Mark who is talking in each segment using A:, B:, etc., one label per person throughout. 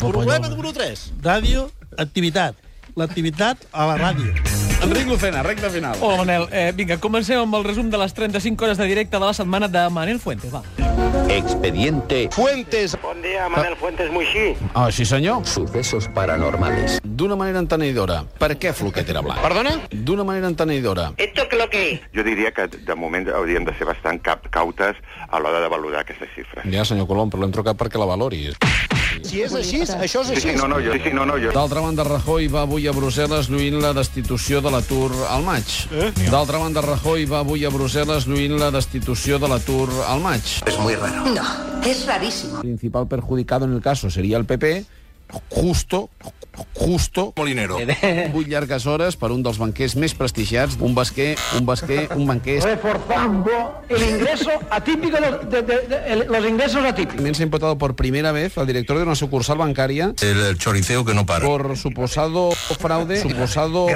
A: Problema número 3.
B: Ràdio, activitat. L'activitat a la ràdio.
A: Enric Lucena, recta final.
C: Hola, Manel. Eh, vinga, comencem amb el resum de les 35 hores de directe de la setmana de Manel Fuentes. Va.
D: Expediente.
A: Fuentes.
E: Bon dia, Manel Fuentes Moixí.
A: Ah, sí senyor.
D: Sucesos paranormales.
A: D'una manera entenedora. Per què Floquet era blanc? Perdona? D'una manera entenedora.
E: Esto que lo que...
F: Jo diria que de moment hauríem de ser bastant cap cautes a l'hora de valorar aquestes xifres.
A: Ja, senyor Colom, però l'hem trucat perquè la valoris.
G: Si és així, això és
F: Sí, sí, no, no, jo, sí, sí, no, no, jo.
A: D'altra banda, Rajoy va avui a Brussel·les lluint la destitució de l'atur al maig. Eh? D'altra banda, Rajoy va avui a Brussel·les lluint la destitució de l'atur al maig.
H: No, es rarísimo.
A: principal perjudicado en el caso sería el PP, justo, justo... Molinero. Vuit llargues hores per un dels banquers més prestigiats, un basquer, un basquer, un banquer... Reforzando el ingreso atípico de, los ingresos atípicos. También se ha imputado por primera vez al director de una sucursal bancaria
I: El choriceo que no para.
A: por suposado fraude, suposado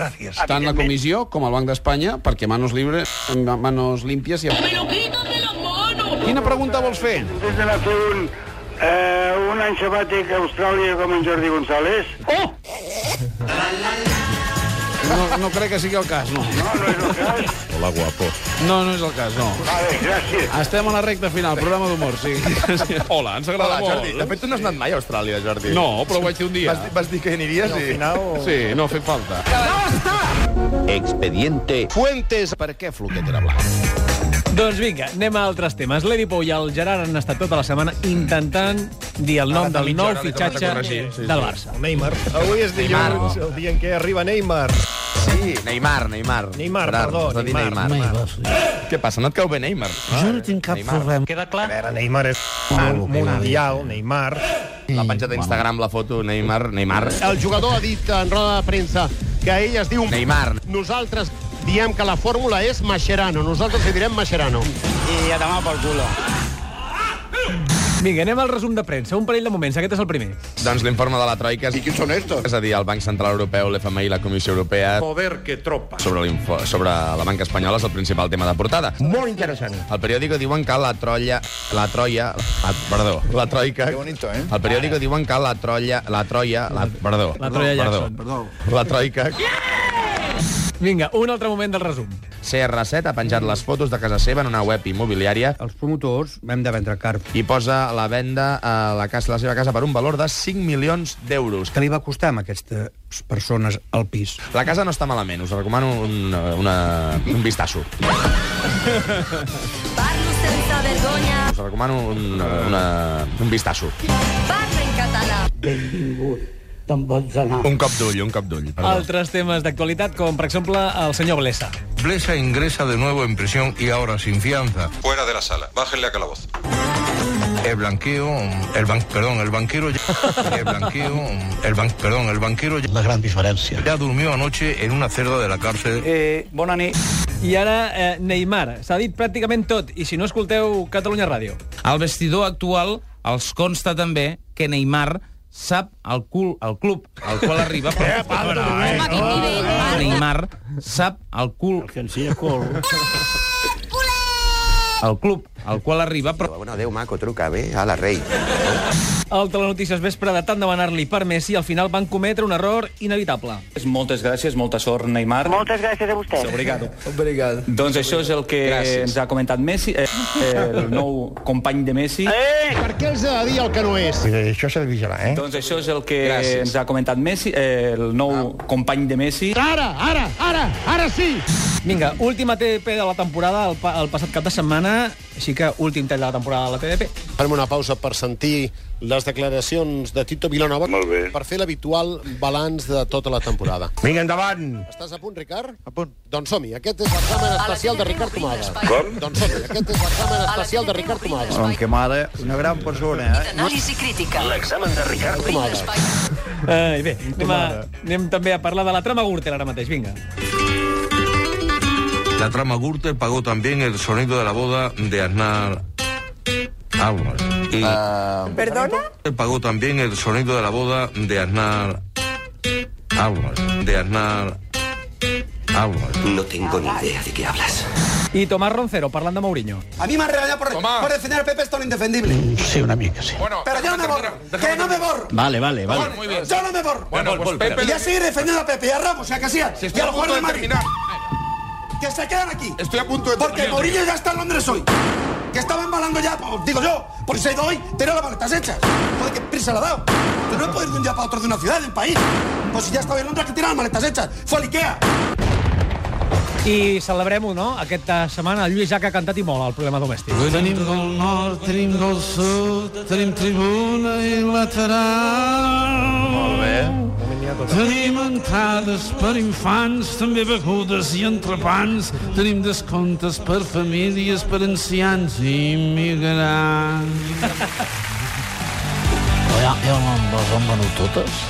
A: tant la comissió com el Banc d'Espanya, perquè manos libres, manos limpias... I...
H: ¡Pero quítate los monos!
A: Quina pregunta vols fer?
E: Des de la fer un, eh, un any sabàtic a Austràlia com en Jordi González.
A: No, no crec que sigui el cas, no.
E: No, no és el cas.
I: Hola, guapo.
A: No, no és el cas, no.
E: Vale, gràcies.
A: Estem a la recta final, programa d'humor, sí.
I: Hola, ens agrada
J: Hola,
I: molt.
J: Jordi. De fet, tu no has anat mai a Austràlia, Jordi.
I: No, però ho vaig fer un dia.
J: Vas, dir- vas dir que aniries i...
I: Sí, no ha fet falta.
D: Expediente.
A: Fuentes. Per què Floquet era blanc?
C: Doncs vinga, anem a altres temes. L'Edi Pou i el Gerard han estat tota la setmana intentant dir el nom
J: Ara de
C: del
J: mitja
C: nou
J: hora li tornes a
C: fitxatge
J: corregir, sí, sí.
C: del Barça.
G: Neymar. Avui és dilluns, el dia en què arriba Neymar.
J: Sí, Neymar, Neymar.
G: Neymar,
J: Gerard,
G: perdó,
J: has de dir
G: Neymar.
B: Neymar.
J: Què passa, no et cau bé Neymar?
B: Jo no tinc cap
J: Neymar.
B: problema.
C: Queda
G: A
C: clar?
G: veure, Neymar és un mundial, Neymar.
J: L'ha penjat a Instagram, Ah, la foto, Neymar, Neymar.
K: El jugador ha dit en roda de premsa que ell es diu...
J: Neymar.
K: Nosaltres diem que la fórmula és Mascherano. Nosaltres li direm Mascherano.
E: I a demà pel culo.
C: Vinga, anem al resum de premsa. Un parell de moments, aquest és el primer.
J: Doncs l'informe de la Troika és... I quins són estos? És a dir, el Banc Central Europeu, l'FMI i la Comissió Europea... Poder que tropa. Sobre, l'info- sobre la banca espanyola és el principal tema de portada.
G: Molt interessant.
J: Al periòdico diuen que la trolla... La troia... La, perdó, la troica... Que
D: bonito, eh?
J: Al periòdico diuen que la trolla... La troia... La, perdó.
C: La Troia Jackson.
J: Perdó. La troica...
C: Vinga, un altre moment del resum.
J: CR7 ha penjat les fotos de casa seva en una web immobiliària
G: Els promotors hem de vendre carp,
J: i posa a la venda a la, casa, la seva casa per un valor de 5 milions d'euros.
G: que li va costar a aquestes persones al pis.
J: La casa no està malament, us recomano un, eh, una, un vistasso.
H: Parlo senza vergogna,
J: Us recomano un, eh, una, un vistasso.
H: parlo in català.
J: Un cop d'ull, un cop d'ull. perdó.
C: Altres temes d'actualitat, com, per exemple, el senyor Blesa.
I: Blesa ingresa de nuevo en prisión y ahora sin fianza.
F: Fuera de la sala. Bájenle a calabozo.
I: El blanqueo... El ban, perdón, el banquero... ya- El blanqueo... El ban, perdón, el banquero... ya-
G: La gran diferència.
I: Ya durmió anoche en una celda de la cárcel.
C: Eh, bona nit. I ara eh, Neymar. S'ha dit pràcticament tot, i si no, escolteu Catalunya Ràdio.
I: Al vestidor actual els consta també que Neymar sap el cul al club al qual arriba. Però...
H: Home, quin nivell, parla.
I: Neymar sap el cul
B: Cancia col.
I: al club al qual arriba, però
D: Bueno, adeu, maco, truca, bé, a la rei.
C: El Telenotícies Vespre, de tant demanar-li per Messi, al final van cometre un error inevitable.
I: Moltes gràcies, molta sort, Neymar.
E: Moltes gràcies a vostè.
I: Obrigado. Obrigado. Doncs això és el que gràcies. ens ha comentat Messi, eh, el nou company de Messi. Eh?
K: Per què els ha de dir el que no és?
G: Això s'ha de vigilar, eh?
I: Doncs això és el que gràcies. ens ha comentat Messi, eh, el nou ah. company de Messi.
L: eh?
K: Ara, ara, ara, ara sí!
C: Vinga, última TDP de la temporada el, pa el passat cap de setmana, així que últim tall de la temporada de la TDP.
K: Farem una pausa per sentir les declaracions de Tito Vilanova
F: Molt bé.
K: per fer l'habitual balanç de tota la temporada.
G: Vinga, endavant!
K: Estàs a punt, Ricard? A punt. Doncs som-hi. Aquest és l'examen especial de Ricard Tomàs.
F: Com?
K: Doncs som-hi. Aquest és l'examen especial de Ricard Tomàs.
G: Que mare, una gran persona, eh?
H: Anàlisi crítica.
F: L'examen de Ricard
K: Tomàs.
C: Ai, Eh, bé, anem, a, anem també a parlar de la trama Gürtel ara mateix, vinga.
I: La trama Gürtel pagó también el sonido de la boda de Aznar Aguas. Y
H: Perdona?
I: pagó también el sonido de la boda de Aznar Aguas. De Aznar Aguas.
D: No tengo ni idea de qué hablas.
C: I Tomás Roncero, parlant de Mourinho.
L: A mí me han regañado por, por defender al Pepe Stone indefendible.
M: Mm.
N: Sí, una mica, sí.
L: Pero yo no me borro. Que no me borro.
N: Vale, vale, vale.
L: Yo no me borro.
N: Bueno, pues Pepe
L: y ya seguir defendiendo a Pepe y a Ramos ¿eh? y a Casillas
M: Si
L: y
M: estoy
L: al
M: a punto
L: jugador
M: de
L: de Madrid.
M: terminar.
L: Que se quedan aquí.
M: Estoy a punto de
L: Porque
M: terminar.
L: Mourinho ya está en Londres hoy. Que estaba embalando ya, os digo yo, por si se ha ido hoy, tenía las maletas hechas. Joder, qué prisa le ha dado. Pero no puede ir de un día para otro de una ciudad, del país. Pues si ya estaba en Londres, que tiene las maletas hechas. Fue al Ikea.
C: I celebrem-ho, no?, aquesta setmana. El Lluís Jaca ha cantat i molt, el problema domèstic.
A: Avui tenim del nord, tenim del sud, tenim tribuna i lateral. Molt bé. Tenim entrades per infants, també begudes i entrepans. Tenim descomptes per famílies, per ancians i immigrants. Ja, ja les han venut totes?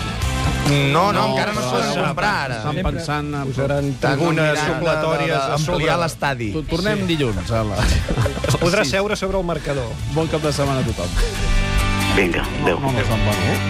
J: No, no, encara no s'han de comprar, ara.
O: Estan pensant... A...
J: Posaran tribunes supletòries a sobre. l'estadi.
O: Tornem
J: Sí.
O: dilluns. A la...
P: Podrà
O: Sí.
P: seure sobre el marcador.
O: Bon cap de setmana a tothom.
F: Vinga, adéu.
O: No, no, no,